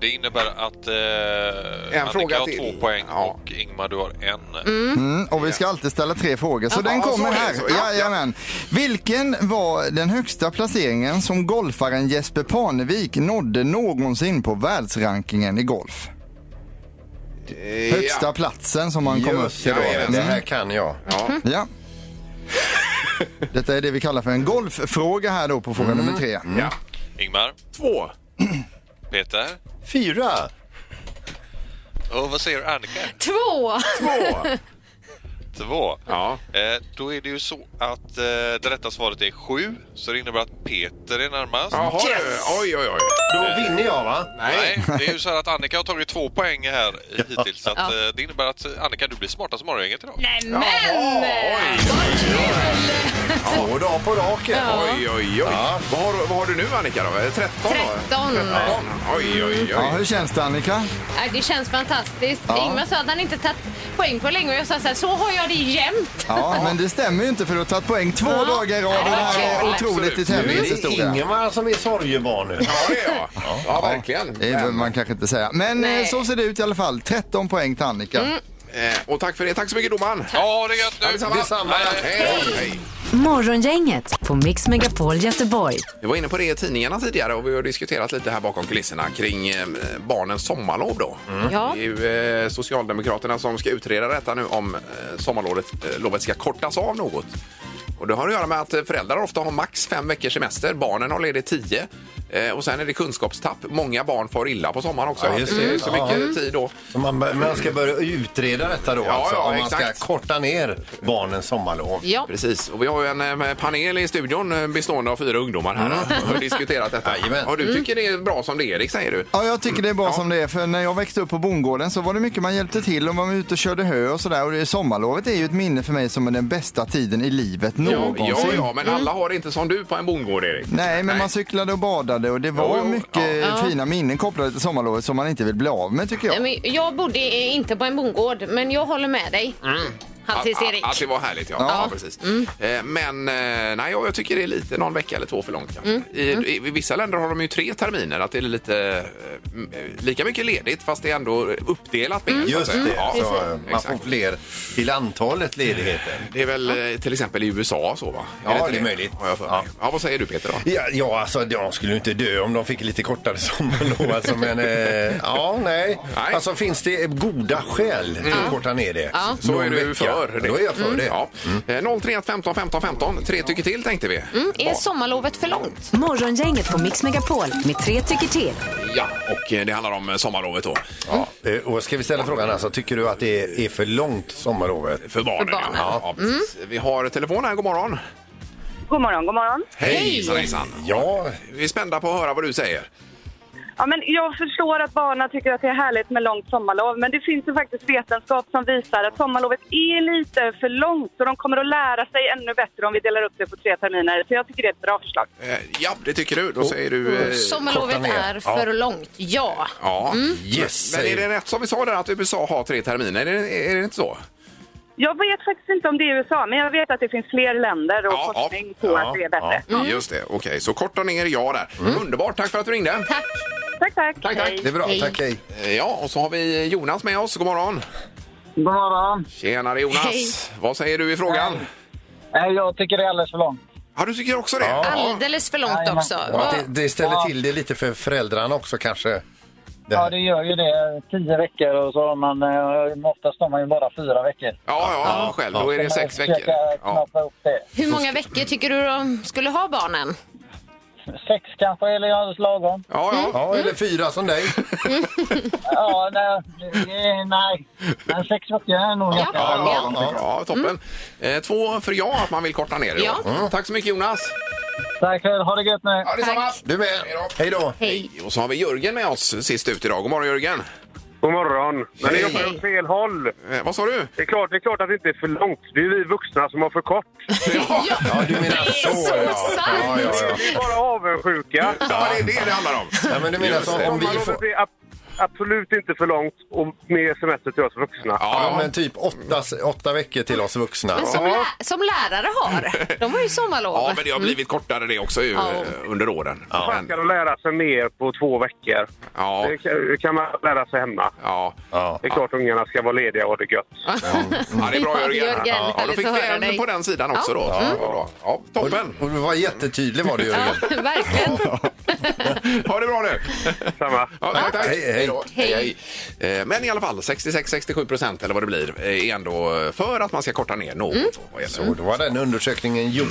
Speaker 10: Det innebär att eh,
Speaker 2: En
Speaker 10: Annika
Speaker 2: fråga
Speaker 10: har
Speaker 2: till.
Speaker 10: två poäng
Speaker 2: Ja.
Speaker 10: och Ingmar du har en.
Speaker 5: Mm, och vi ska alltid ställa tre frågor, så den
Speaker 2: ja,
Speaker 5: kommer
Speaker 2: så är det
Speaker 5: här.
Speaker 2: så. Ja, ja.
Speaker 5: Jajamän. Vilken var den högsta placeringen som golfaren Jesper Parnevik nådde någonsin på världsrankingen i golf?
Speaker 2: Eh,
Speaker 5: Högsta platsen som man kom upp
Speaker 4: Just
Speaker 5: till
Speaker 4: det,
Speaker 5: då.
Speaker 4: det
Speaker 5: Mm.
Speaker 4: här kan jag.
Speaker 5: Ja. Detta är det vi kallar för en golffråga här då på fråga nummer tre.
Speaker 2: Mm.
Speaker 10: Ingmar.
Speaker 2: Två.
Speaker 10: Peter.
Speaker 4: Fyra.
Speaker 10: Och vad säger Annika?
Speaker 3: Två!
Speaker 2: Två.
Speaker 10: Två.
Speaker 2: Ja.
Speaker 10: Eh, då är det ju så att eh, det rätta svaret är sju. Så det innebär att Peter är närmast.
Speaker 2: Jaha, du. oj, oj, oj.
Speaker 4: Då vinner jag, va?
Speaker 10: Nej, det är ju så här att Annika har tagit två poäng här i- hittills. Så att,
Speaker 3: Ja.
Speaker 10: eh, det innebär att eh, Annika, du blir smartast i morgongänget idag.
Speaker 3: Nämen!
Speaker 4: Två dagar på raken.
Speaker 2: Oj, oj, oj. Vad, har, vad har du nu Annika då? 13?
Speaker 3: 13.
Speaker 2: Ja. Oj, oj, oj.
Speaker 5: Ja, hur känns det Annika?
Speaker 3: Nej, Det känns fantastiskt.
Speaker 5: Ja.
Speaker 3: Ingmar sa att han inte tagit poäng på länge och jag sa så här, så har jag det jämt.
Speaker 5: Ja, men det stämmer ju inte för du har tagit poäng två
Speaker 3: Ja.
Speaker 5: dagar i rad och det här är
Speaker 3: Absolut.
Speaker 5: otroligt i tävlingens
Speaker 4: Det är
Speaker 5: historia.
Speaker 4: Ingemar som är sorgebarn nu.
Speaker 2: Ja, det är jag. Ja, verkligen.
Speaker 5: Det behöver man kanske inte säga. Men eh,
Speaker 3: Nej.
Speaker 5: så ser det ut i alla fall. 13 poäng till Annika.
Speaker 2: Eh, Och tack för det. Tack så mycket domaren.
Speaker 10: Ja, det är gött nu.
Speaker 2: Detsamma.
Speaker 4: Detsamma.
Speaker 2: Hej, hej.
Speaker 1: Morgongänget på Mix Megapol Göteborg.
Speaker 2: Vi var inne på det i tidningarna tidigare och vi har diskuterat lite här bakom kulisserna kring eh, barnens sommarlov då.
Speaker 3: Ja.
Speaker 2: Det är ju eh, Socialdemokraterna som ska utreda detta nu om eh, sommarlovet eh, lovet ska kortas av något. Och det har att göra med att eh, föräldrar ofta har max fem veckors semester, barnen har ledigt tio eh, och sen är det kunskapstapp. Många barn far illa på sommaren också.
Speaker 4: Ja, just
Speaker 2: det är
Speaker 4: det.
Speaker 2: så
Speaker 4: Ja.
Speaker 2: mycket tid då.
Speaker 4: Så man, bör- man ska börja utreda detta då,
Speaker 2: Ja,
Speaker 4: alltså,
Speaker 2: ja,
Speaker 4: om man ska
Speaker 2: exakt.
Speaker 4: korta ner barnens sommarlov.
Speaker 3: Ja.
Speaker 2: Precis, och vi har ju en eh, panel i studion eh, bestående av fyra ungdomar här och har diskuterat detta.
Speaker 4: Mm. Jajamän.
Speaker 2: Ja, du tycker det är bra som det är, Erik, säger du?
Speaker 5: Ja, jag tycker det är bra som det är. För när jag växte upp på bondgården så var det mycket man hjälpte till och man var ute och körde hö och sådär. Och det, sommarlovet är ju ett minne för mig som är den bästa tiden i livet
Speaker 2: Ja,
Speaker 5: någonsin.
Speaker 2: ja, ja, men alla
Speaker 4: Mm.
Speaker 2: har det inte som du på en bondgård, Erik.
Speaker 5: Nej, men man cyklade och badade och det var
Speaker 2: Jo, jo,
Speaker 5: mycket fina minnen kopplade till sommarlovet som man inte vill bli av med tycker jag.
Speaker 3: Nej, men Jag bodde eh, inte på en bondgård, men jag håller med dig. Halvtids
Speaker 2: Att-
Speaker 3: Erik. Mm.
Speaker 2: Att, att det var härligt, ja. ja. precis. Eh, Men eh, nej, jag jag tycker det är lite någon vecka eller två för långt. kanske.
Speaker 3: Mm.
Speaker 2: I, i, I vissa länder har de ju tre terminer, att det är lite eh, m- eh, lika mycket ledigt fast det är ändå uppdelat mer. så
Speaker 4: Mm.
Speaker 2: att
Speaker 4: Just
Speaker 2: säga.
Speaker 4: det,
Speaker 2: Ja,
Speaker 4: så eh, man får
Speaker 2: exakt.
Speaker 4: fler till antalet ledigheter.
Speaker 2: Det är väl eh, till exempel i USA så va?
Speaker 4: Ja,
Speaker 2: inte
Speaker 4: det är möjligt.
Speaker 2: Har jag för mig.
Speaker 4: Ja.
Speaker 2: Ja. vad säger du Peter då?
Speaker 4: Ja, ja, alltså de skulle ju inte dö om de fick lite kortare sommarlov. Alltså, men eh, ja, nej.
Speaker 2: Nej.
Speaker 4: Alltså finns det goda skäl till att korta ner det?
Speaker 3: Ja. Mm.
Speaker 2: Så
Speaker 4: Någon
Speaker 2: är du
Speaker 4: vecka.
Speaker 2: för det.
Speaker 4: Då är jag för det. Mm.
Speaker 2: Ja. Eh, 031 15 15 15. Tre tycker till tänkte vi.
Speaker 3: Mm, Är sommarlovet för långt?
Speaker 1: Morgongänget på Mix Megapol med tre tycker till.
Speaker 2: Ja, och eh, det handlar om eh, sommarlovet då.
Speaker 4: Ja. Eh, Och ska vi ställa frågan alltså, tycker du att det är- är för långt sommarlovet?
Speaker 2: För barnen.
Speaker 3: För barnen. Mm.
Speaker 2: Ja. Ja, precis. Vi har telefon här. God morgon.
Speaker 9: God morgon, god morgon.
Speaker 2: Hej! Hejsan, hejsan.
Speaker 4: Ja,
Speaker 2: Vi är spända på att höra vad du säger.
Speaker 9: Ja, men jag förstår att barnen tycker att det är härligt med långt sommarlov men det finns ju faktiskt vetenskap som visar att sommarlovet är lite för långt så de kommer att lära sig ännu bättre om vi delar upp det på tre terminer. Så jag tycker det är ett bra förslag.
Speaker 2: Eh, ja, det tycker du. Då säger
Speaker 4: oh,
Speaker 2: du... Eh,
Speaker 3: Sommarlovet
Speaker 4: korta ner.
Speaker 3: är för långt, ja.
Speaker 2: ja.
Speaker 4: yes.
Speaker 2: Men är
Speaker 4: säger-
Speaker 2: det rätt som vi sa där att USA har tre terminer? Är det, är det inte så?
Speaker 9: Jag vet faktiskt inte om det är USA men jag vet att det finns fler länder och
Speaker 2: Ja, ja.
Speaker 9: forskning på
Speaker 4: Ja,
Speaker 9: att det är bättre.
Speaker 2: Just det. Okej, så korta ner ja där. Underbart. Tack för att du ringde.
Speaker 3: Tack.
Speaker 9: Tack, tack.
Speaker 2: Tack, tack.
Speaker 4: Det är bra, tack hej.
Speaker 2: Eh, Ja, och så har vi Jonas med oss. God morgon.
Speaker 7: God morgon.
Speaker 2: Tjenare Jonas.
Speaker 3: Hej.
Speaker 2: Vad säger du i frågan?
Speaker 7: Nej, jag tycker det är alldeles för långt.
Speaker 2: Ja, du tycker också det?
Speaker 3: Alldeles för långt
Speaker 7: Jajamän.
Speaker 3: också.
Speaker 4: Och att
Speaker 3: Ja.
Speaker 4: det, det ställer till det lite för föräldrarna också kanske. Det
Speaker 7: Ja,
Speaker 4: här.
Speaker 7: det gör ju det. Tio veckor och så har man... eh, Oftast har man ju bara fyra veckor.
Speaker 2: Ja, ja, ja, själv. Då är det
Speaker 7: Så man
Speaker 2: sex
Speaker 7: försöker
Speaker 2: veckor. Ja.
Speaker 7: knappa upp det.
Speaker 3: Hur många veckor tycker du de skulle ha barnen?
Speaker 7: Sex kanske, eller alldeles lagom.
Speaker 2: Ja, ja.
Speaker 4: Ja, eller fyra som dig.
Speaker 7: Ja, nej, eh, nej. Men sex veckor är nog
Speaker 3: Ja. Mm.
Speaker 7: ganska
Speaker 2: Ja,
Speaker 7: lagom.
Speaker 2: ja, ja. ja toppen. Eh, två för ja, att man vill korta ner det. då.
Speaker 3: Ja.
Speaker 2: Mm. Tack så mycket Jonas.
Speaker 7: Tack själv, ha det gött nu.
Speaker 2: Ja, detsamma.
Speaker 4: Du med. Hej då.
Speaker 3: Hej.
Speaker 2: Och så har vi Jörgen med oss sist ut idag. God morgon Jörgen.
Speaker 6: God morgon. Men det
Speaker 2: Hej.
Speaker 6: jobbar åt fel håll.
Speaker 2: Eh, vad sa du?
Speaker 6: Det är, klart, det är klart att det inte är för långt. Det är vi vuxna som har för kort.
Speaker 2: Ja,
Speaker 4: Ja, du menar
Speaker 3: Det är
Speaker 4: så.
Speaker 3: så
Speaker 4: ja.
Speaker 3: sant.
Speaker 4: Ja, ja, ja.
Speaker 6: Vi är bara avundsjuka.
Speaker 2: ja det är det det handlar om.
Speaker 4: Ja, men du menar så om vi får...
Speaker 6: Sommarlovet är ab- absolut inte för långt och mer semester till oss vuxna.
Speaker 4: Ja,
Speaker 2: Ja,
Speaker 4: men typ åtta, åtta veckor till oss vuxna.
Speaker 3: Men som, lä som lärare har. De har ju sommarlov.
Speaker 2: ja, men det har blivit kortare det också ju,
Speaker 3: Ja.
Speaker 2: eh, under åren.
Speaker 6: Man
Speaker 2: Men,
Speaker 6: kan lära sig mer på två veckor.
Speaker 2: ja,
Speaker 6: Det kan- Det kan man lära sig hemma.
Speaker 2: ja.
Speaker 4: Ja.
Speaker 6: Det är klart ungarna ska vara lediga och ha det gött.
Speaker 2: ja, det är bra
Speaker 3: Ja,
Speaker 2: Jörgen.
Speaker 3: Jörgen,
Speaker 2: Ja, då
Speaker 3: härligt
Speaker 2: fick
Speaker 3: att
Speaker 2: vi
Speaker 3: höra
Speaker 2: en
Speaker 3: dig.
Speaker 2: på den sidan också då. Ja, ja, toppen.
Speaker 4: Och du var jättetydlig var du Jörgen.
Speaker 3: Ja, verkligen.
Speaker 2: Ha det bra nu! Samma. Ja, tack, tack.
Speaker 4: Hej, hej.
Speaker 2: då. hej, hej. Eh, Men i alla fall, 66-67 procent eller vad det blir eh, är ändå eh, för att man ska korta ner något. Så
Speaker 4: då var den undersökningen gjord.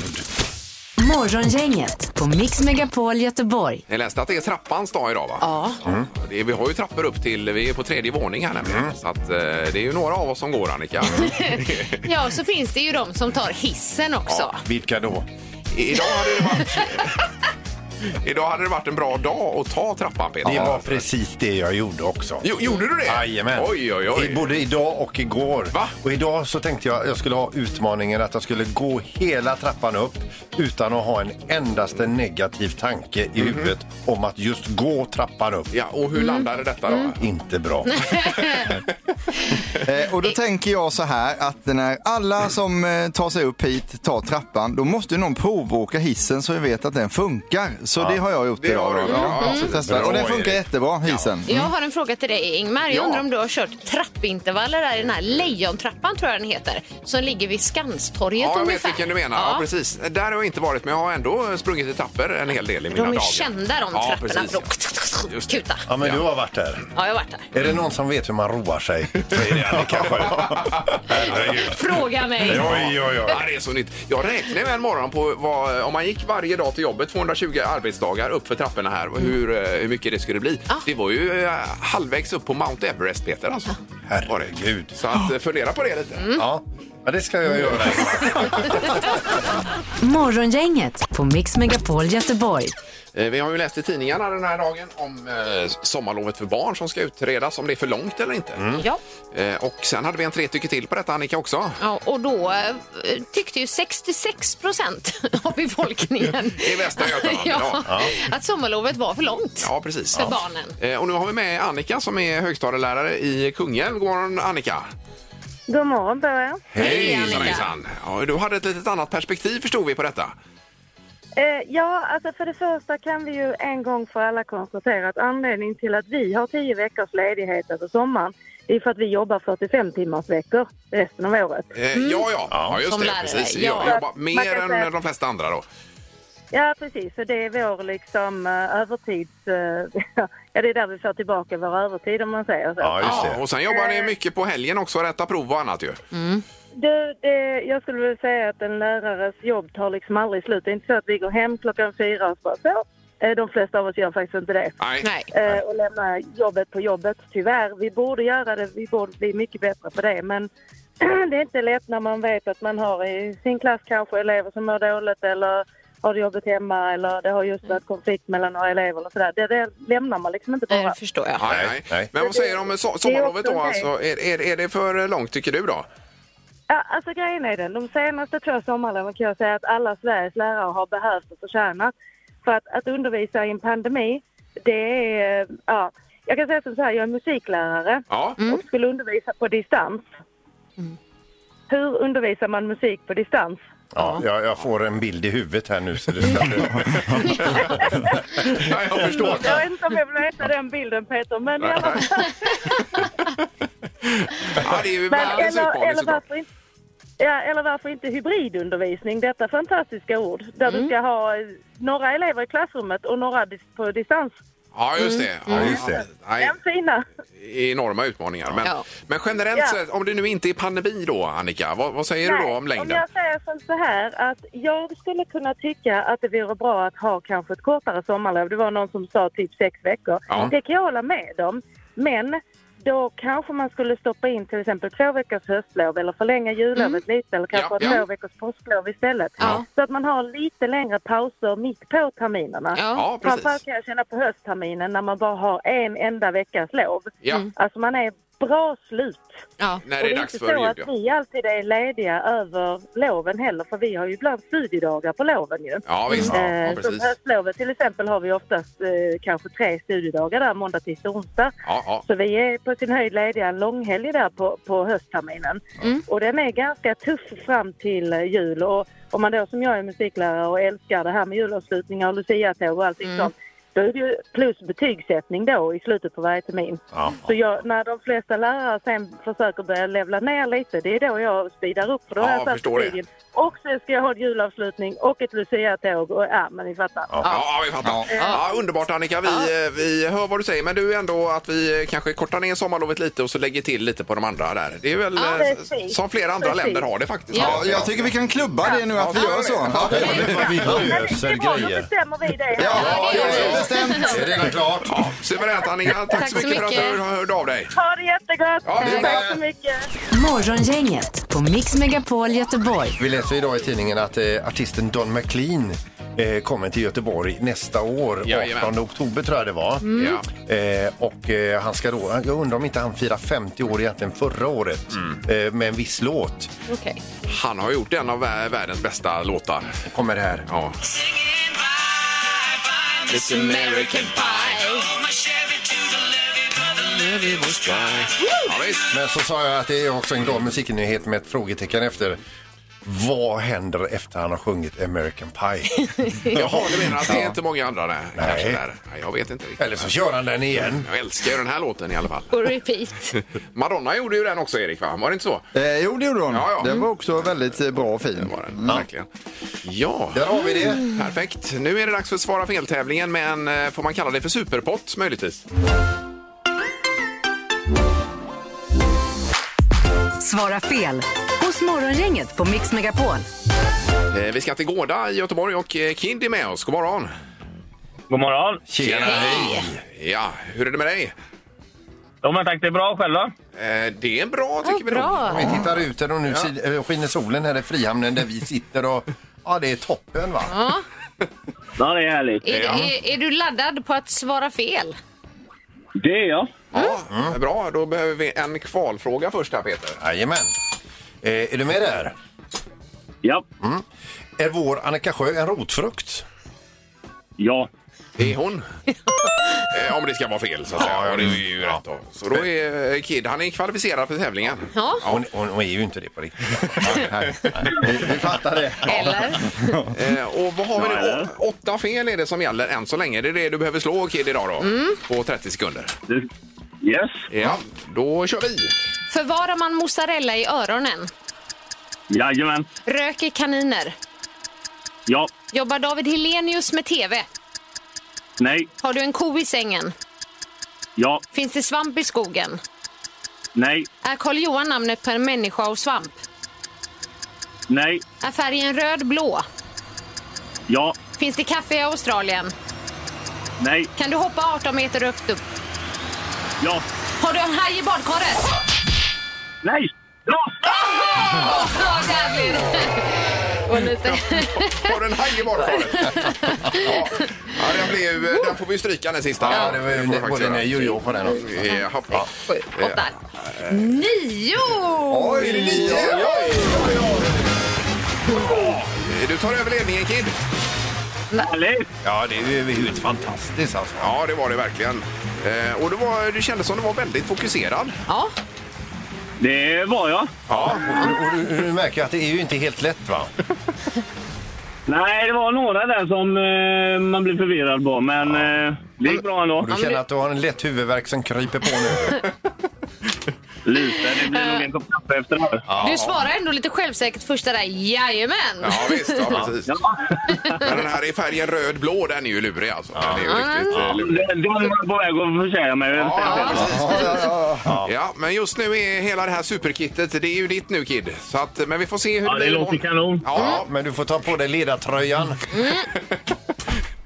Speaker 1: Morgongänget på Mix Megapol Göteborg.
Speaker 2: Ni läste att det är trappans dag idag va? Ja. Det är, vi har ju trappor upp till, vi är på tredje våningen här nämligen.
Speaker 4: Mm.
Speaker 2: Så att, eh, det är ju några av oss som går Annika.
Speaker 3: Ja, så finns det ju de som tar hissen också.
Speaker 4: Vilka då?
Speaker 2: Idag hade det varit... Idag hade det varit en bra dag att ta trappan Peter.
Speaker 4: Det var precis det jag gjorde också.
Speaker 2: Jo, gjorde du det?
Speaker 4: Jajamän.
Speaker 2: Oj, oj, oj.
Speaker 4: I- Både idag och igår. Och idag så tänkte jag jag skulle ha utmaningen att jag skulle gå hela trappan upp utan att ha en endaste negativ tanke i huvudet om att just gå trappan upp.
Speaker 2: Mhm. Ja, och hur landade detta
Speaker 4: då? Inte bra.
Speaker 5: Eh, och då tänker jag så här att när alla som eh, tar sig upp hit tar trappan, då måste ju någon provåka hissen så vi vet att den funkar. Så
Speaker 2: Ja.
Speaker 5: det har jag gjort
Speaker 2: Det
Speaker 5: idag.
Speaker 2: har
Speaker 5: då.
Speaker 2: du. Ja,
Speaker 5: så
Speaker 2: mm.
Speaker 5: testar.
Speaker 2: Bra,
Speaker 5: Och den funkar
Speaker 2: Erik.
Speaker 5: jättebra, hissen.
Speaker 3: Jag har en fråga till dig Ingmar. Jag
Speaker 5: Ja.
Speaker 3: undrar om du har kört trappintervaller där i den här Lejontrappan tror jag den heter. Som ligger vid Skanstorget
Speaker 2: Ja, jag vet
Speaker 3: ungefär.
Speaker 2: vilken du menar. Ja. precis. Där har jag inte varit, men jag har ändå sprungit i trappor en hel del i mina
Speaker 3: De är
Speaker 2: dagar.
Speaker 3: kända de
Speaker 2: ja,
Speaker 3: trapporna
Speaker 2: precis.
Speaker 3: för att
Speaker 2: Just
Speaker 3: kuta.
Speaker 4: Ja, men du har varit där.
Speaker 3: Ja, jag har varit där.
Speaker 4: Är det någon som vet hur man roar sig? Så är det Annika Herregud.
Speaker 3: Fråga mig.
Speaker 2: Ja, det är så nytt. Jag räknade med en morgon på vad, om man gick varje dag till jobbet, 220 arbetsdagar upp för trapporna här, och hur, eh, hur mycket det skulle
Speaker 3: Ah.
Speaker 2: bli. Det var ju eh, halvvägs upp på Mount Everest, Peter. Alltså.
Speaker 4: Herregud.
Speaker 2: Så att, eh, fundera på det lite.
Speaker 3: Mm.
Speaker 4: Ja. ja, det ska jag göra.
Speaker 2: Mm.
Speaker 1: Morgongänget på Mix Megapol Göteborg.
Speaker 2: Eh, Vi har ju läst i tidningarna den här dagen om eh, sommarlovet för barn som ska utredas, om det är för långt eller inte.
Speaker 3: Ja.
Speaker 2: Eh, Och sen hade vi en tre tycker till på detta, Annika, också.
Speaker 3: Ja, och då eh, tyckte ju 66 procent av befolkningen
Speaker 2: I Västra Götaland.
Speaker 3: ja,
Speaker 2: Ja.
Speaker 3: att sommarlovet var för långt
Speaker 2: Ja, precis.
Speaker 3: för
Speaker 2: Ja.
Speaker 3: barnen.
Speaker 2: Eh, Och nu har vi med Annika som är högstadielärare i Kungälv. God morgon, Annika!
Speaker 11: God morgon, Börje.
Speaker 2: Hej, Annika! Hejsan. Ja, du hade ett litet annat perspektiv, förstod vi, på detta.
Speaker 11: Eh, ja, alltså för det första kan vi ju en gång för alla konstatera att anledningen till att vi har tio veckors ledighet över sommaren det är för att vi jobbar 45 timmars veckor resten av året.
Speaker 2: Eh, Ja, ja, ja just
Speaker 11: Som
Speaker 2: det.
Speaker 11: lärare,
Speaker 2: Precis.
Speaker 11: ja.
Speaker 2: Jag jobbar
Speaker 11: Man
Speaker 2: mer
Speaker 11: kan
Speaker 2: än
Speaker 11: säga-
Speaker 2: de flesta andra då.
Speaker 11: Ja, precis. Så det är vår liksom eh, övertids... Eh, ja, det är där vi får tillbaka vår övertid om man säger så.
Speaker 2: Ja, och sen jobbar
Speaker 11: Eh.
Speaker 2: ni mycket på helgen också, rätta prov och annat ju.
Speaker 11: Du, det, jag skulle vilja säga att en lärares jobb tar liksom aldrig slut. Det är inte så att vi går hem klockan fyra och bara så. Eh, De flesta av oss gör faktiskt inte det.
Speaker 2: Nej.
Speaker 11: Eh, Och lämnar jobbet på jobbet, tyvärr. Vi borde göra det, vi borde bli mycket bättre på det. Men det är inte lätt när man vet att man har i sin klass kanske elever som mår dåligt eller har det jobbigt hemma eller det har just varit konflikt mellan några elever och sådär. Det, det lämnar man liksom inte bara.
Speaker 3: Nej, det förstår jag.
Speaker 2: Nej, nej. Men vad säger du om so-
Speaker 11: Det är
Speaker 2: sommarlovet
Speaker 11: också
Speaker 2: då?
Speaker 11: okej.
Speaker 2: Alltså, är, är, är det för långt tycker du då?
Speaker 11: Ja, alltså grejen är den, de senaste två sommarloven kan jag säga att alla Sveriges lärare har behövt och förtjänat. För att, att undervisa i en pandemi, det är... eh, Ja, jag kan säga som så här, jag är musiklärare
Speaker 2: Ja.
Speaker 3: Mm.
Speaker 11: och skulle undervisa på distans. Hur undervisar man musik på distans?
Speaker 4: Ja, jag, jag får en bild i huvudet här nu. Så det ska...
Speaker 2: jag förstår.
Speaker 11: Jag vet inte om jag vill veta den bilden Peter, men i alla fall.
Speaker 2: Ja, det är
Speaker 11: Men
Speaker 2: ju världens
Speaker 11: eller,
Speaker 2: utmaning
Speaker 11: eller,
Speaker 2: såklart.
Speaker 11: varför inte, ja, eller varför inte hybridundervisning, detta fantastiska ord. Där du ska ha eh, några elever i klassrummet och några dis- på distans.
Speaker 2: Ja, just det. Ja,
Speaker 11: Mm.
Speaker 2: just det. Nej,
Speaker 11: Den fina.
Speaker 2: enorma utmaningar. Men,
Speaker 11: Ja.
Speaker 2: men generellt
Speaker 11: Ja.
Speaker 2: sett, om det nu inte är pandemi då, Annika, vad, vad säger du
Speaker 11: Nej,
Speaker 2: då om
Speaker 11: Om
Speaker 2: längden?
Speaker 11: jag säger som så här att jag skulle kunna tycka att det vore bra att ha kanske ett kortare sommarlov. Det var någon som sa typ sex veckor.
Speaker 12: Ja.
Speaker 11: Det kan jag hålla med om. Men då kanske man skulle stoppa in till exempel två veckors höstlov eller förlänga jullovet lite eller kanske
Speaker 12: Mm. Ja,
Speaker 11: ha två
Speaker 12: ja.
Speaker 11: veckors påsklov istället.
Speaker 12: Ja.
Speaker 11: Så att man har lite längre pauser mitt på terminerna.
Speaker 12: Ja. Ja, precis.
Speaker 11: Framförallt kan jag känna på höstterminen när man bara har en enda veckas lov.
Speaker 2: Ja. Mm.
Speaker 11: Alltså man är bra slut.
Speaker 2: När
Speaker 11: Och
Speaker 2: det är
Speaker 11: inte
Speaker 2: dags
Speaker 11: så
Speaker 2: för jul,
Speaker 11: att
Speaker 2: ja.
Speaker 11: vi alltid är lediga över loven heller, för vi har ju ibland studiedagar på loven ju.
Speaker 2: Ja, visst. Ja, ja,
Speaker 11: Eh,
Speaker 2: precis.
Speaker 11: Som höstlovet till exempel har vi oftast eh, kanske tre studiedagar där, måndag, tisdag, onsdag.
Speaker 2: Ja, ja.
Speaker 11: Så vi är på sin höjd lediga en långhelg där på, på höstterminen.
Speaker 1: Mm.
Speaker 11: Och den är ganska tuff fram till eh, jul.
Speaker 3: Mm.
Speaker 11: Och om man då som jag är musiklärare och älskar det här med julavslutningar och luciatåg och allting sånt. Då är det ju plus betygssättning då i slutet på varje termin.
Speaker 4: Ja.
Speaker 11: Så jag, när de flesta lärare sen försöker börja levla ner lite, det är då jag speedar upp. För då
Speaker 4: Ja,
Speaker 11: har jag satt
Speaker 4: förstår det.
Speaker 11: betygen. Och sen ska jag ha en julavslutning och ett luciatåg och ja, men ni fattar.
Speaker 2: Ja, ja, vi fattar. Ja. underbart Annika, vi, eh, vi hör vad du säger men du ändå att vi eh, kanske kortar ner sommarlovet lite och så lägger till lite på de andra där. Det är väl
Speaker 11: Ja,
Speaker 2: eh,
Speaker 11: precis.
Speaker 2: som flera andra
Speaker 11: Precis.
Speaker 2: länder har det faktiskt.
Speaker 5: Ja, jag tycker vi kan klubba det nu att vi gör så.
Speaker 2: Ja, det gör vi.
Speaker 11: Då bestämmer vi det.
Speaker 2: Ja,
Speaker 11: det
Speaker 2: är
Speaker 5: bestämt.
Speaker 4: Det är redan klart.
Speaker 2: Ja, suveränt Annika, tack,
Speaker 11: Tack
Speaker 2: så
Speaker 11: så
Speaker 2: mycket, för att
Speaker 11: mycket.
Speaker 2: du hörde av dig.
Speaker 11: Ha det jättegott!
Speaker 2: Ja, det är bra.
Speaker 11: Tack så mycket!
Speaker 1: Morgongänget på Mix Megapol Göteborg.
Speaker 4: Vi läser idag i tidningen att eh, artisten Don McLean eh, kommer till Göteborg nästa år.
Speaker 2: Jajamän.
Speaker 4: 18 oktober tror jag det var.
Speaker 2: Mm.
Speaker 4: Eh, och eh, han ska då, jag undrar om inte han firade 50 år egentligen förra året eh, med en viss låt.
Speaker 3: Okej.
Speaker 2: Han har gjort en av vä- världens bästa låtar.
Speaker 4: Kommer det här.
Speaker 2: Ja.
Speaker 8: This American
Speaker 2: Ja, visst.
Speaker 4: Men så sa jag att det är också en glad musiknyhet med ett frågetecken efter. Vad händer efter han har sjungit American Pie?
Speaker 2: Jaha, du menar att det är
Speaker 4: Ja.
Speaker 2: inte många andra där? Kanske där. Nej, jag vet inte riktigt.
Speaker 4: Eller så kör han den igen.
Speaker 2: Jag älskar ju den här låten i alla fall.
Speaker 3: På repeat.
Speaker 2: Madonna gjorde ju den också, Erik, va? Var det inte så?
Speaker 5: Eh, jo, det gjorde hon.
Speaker 2: Ja, ja.
Speaker 5: Den var också väldigt eh, bra och fin.
Speaker 2: Mm. Verkligen. Ja,
Speaker 4: Där har vi det.
Speaker 2: perfekt. Nu är det dags för Svara fel-tävlingen, men eh, får man kalla det för superpott möjligtvis?
Speaker 1: Svara fel hos Morgongänget på Mix Megapol.
Speaker 2: Eh, Vi ska till Gårda i Göteborg och eh, Kind är med oss. God morgon!
Speaker 12: God morgon!
Speaker 4: Tjena! Hej!
Speaker 2: Ja, hur är det med dig? Eh,
Speaker 12: Ja, men tack, det är bra. Själv då?
Speaker 2: Det är bra, tycker vi
Speaker 3: bra.
Speaker 2: nog.
Speaker 4: Vi tittar ut här och nu si- eh, skiner solen här i Frihamnen där vi sitter och ja, det är toppen va?
Speaker 3: Ja.
Speaker 12: Ja, det är härligt.
Speaker 3: Är, är, är du laddad på att svara fel?
Speaker 12: Det är jag.
Speaker 2: Ja, bra. Då behöver vi en kvalfråga först här, Peter.
Speaker 4: Jajamän. Eh, är du med där?
Speaker 12: Ja.
Speaker 4: Mm. Är vår Annika Sjö en rotfrukt?
Speaker 12: Ja.
Speaker 2: Det är hon. Eh, Om det ska vara fel, så att säga. Ja, det är ju rätt då. Så då är eh, Kid, han är kvalificerad för tävlingen.
Speaker 3: Ja.
Speaker 4: Hon, hon, hon är ju inte det på riktigt. Nej, nej. Vi fattar det.
Speaker 3: Eller?
Speaker 2: Eh, och vad har vi nu? Å- Åtta fel är det som gäller än så länge. Det är det du behöver slå, Kid, idag då. På 30 sekunder.
Speaker 12: Yes.
Speaker 2: Ja, då kör vi.
Speaker 3: Förvarar man mozzarella i öronen?
Speaker 12: Jajamän.
Speaker 3: Röker kaniner?
Speaker 12: Ja.
Speaker 3: Jobbar David Helenius med TV?
Speaker 12: Nej.
Speaker 3: Har du en ko i sängen?
Speaker 12: Ja.
Speaker 3: Finns det svamp i skogen?
Speaker 12: Nej.
Speaker 3: Är Karl Johan namnet på en människa av svamp?
Speaker 12: Nej.
Speaker 3: Är färgen röd blå?
Speaker 12: Ja.
Speaker 3: Finns det kaffe i Australien?
Speaker 12: Nej.
Speaker 3: Kan du hoppa 18 meter högt upp?
Speaker 12: Ja.
Speaker 3: Har du en haj i badkaret?
Speaker 12: Nej. Ja.
Speaker 3: Ja, där blir det. Och lite...
Speaker 2: Har du en haj i badkaret? ja. ja, den, blev, ju- den får vi ju stryka den sista.
Speaker 4: Ja, det var ju både nej och ja på den också.
Speaker 2: Ja, hopp.
Speaker 3: Sju, åtta, nio!
Speaker 2: Oj, det är nio! Oj, oj, oj, oj. Du tar över ledningen, Kid.
Speaker 12: Härligt.
Speaker 4: Ja, det är ju helt fantastiskt alltså.
Speaker 2: Ja, det var det verkligen. Eh, Och det, var, det kändes som du var väldigt fokuserad.
Speaker 3: Ja,
Speaker 12: Det var jag.
Speaker 2: Ja.
Speaker 4: Och, och du, du märker att det är ju inte helt lätt va?
Speaker 12: Nej, det var några där som eh, man blev förvirrad på, men eh, det gick bra ändå.
Speaker 4: Och du känner att du har en lätt huvudvärk som kryper på nu.
Speaker 12: Lite. Det blir nog en kopp kaffe efter det här.
Speaker 3: du svarar ändå lite självsäkert första där. Jajamän!
Speaker 2: Ja, visst. Ja, precis. Men den här i färgen röd-blå, den är ju lurig alltså. Den är ju riktigt eh, lurig.
Speaker 12: Den den var på väg att försäga mig. vill jag säga.
Speaker 2: Ja, men just nu är hela det här superkittet, det är ju ditt nu Kid. Så att, men vi får se hur
Speaker 12: Ja,
Speaker 2: det
Speaker 12: det
Speaker 2: blir
Speaker 12: låter
Speaker 2: imorgon.
Speaker 12: kanon.
Speaker 2: Ja,
Speaker 4: Men du får ta på dig ledartröjan.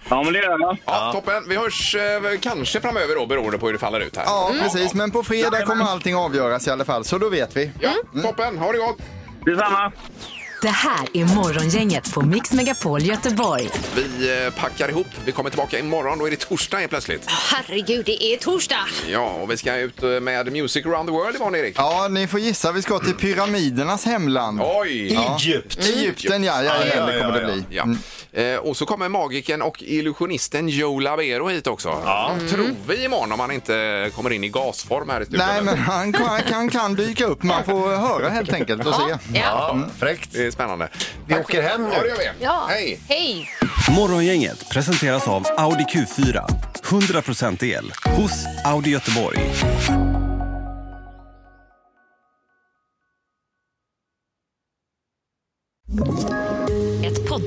Speaker 12: Ja, men det gör jag.
Speaker 2: ja, toppen. Vi hörs eh, kanske framöver då beroende på hur det faller ut här.
Speaker 5: Ja, precis. Men på fredag kommer allting avgöras i alla fall, så då vet vi.
Speaker 2: Ja, toppen. Ha det gott!
Speaker 12: Detsamma.
Speaker 1: Det här är Morgongänget på Mix Megapol Göteborg.
Speaker 2: Vi eh, packar ihop. Vi kommer tillbaka imorgon. Då är det torsdag helt plötsligt.
Speaker 3: Herregud, det är torsdag!
Speaker 2: Ja, och vi ska ut eh, med Music around the world imorgon, Erik.
Speaker 5: Ja, ni får gissa. Vi ska till pyramidernas hemland.
Speaker 2: Oj!
Speaker 5: Ja. Egypten, ja. ja, ja, det kommer det bli.
Speaker 2: Ja.
Speaker 4: Mm.
Speaker 2: Eh, och så kommer magiken och illusionisten Joe Labero hit också. Ja. Tror vi imorgon om han inte kommer in i gasform här i studion.
Speaker 5: Nej, men han kan, han kan, kan dyka upp. Man får höra helt enkelt och se.
Speaker 3: Ja.
Speaker 4: Ja, fräckt.
Speaker 2: Det är spännande.
Speaker 4: Vi åker hem nu.
Speaker 2: Ja, det gör vi.
Speaker 3: Ja.
Speaker 2: Hej!
Speaker 3: Hej!
Speaker 13: Morgongänget presenteras av Audi Q4. 100% el hos Audi Göteborg.
Speaker 14: Ett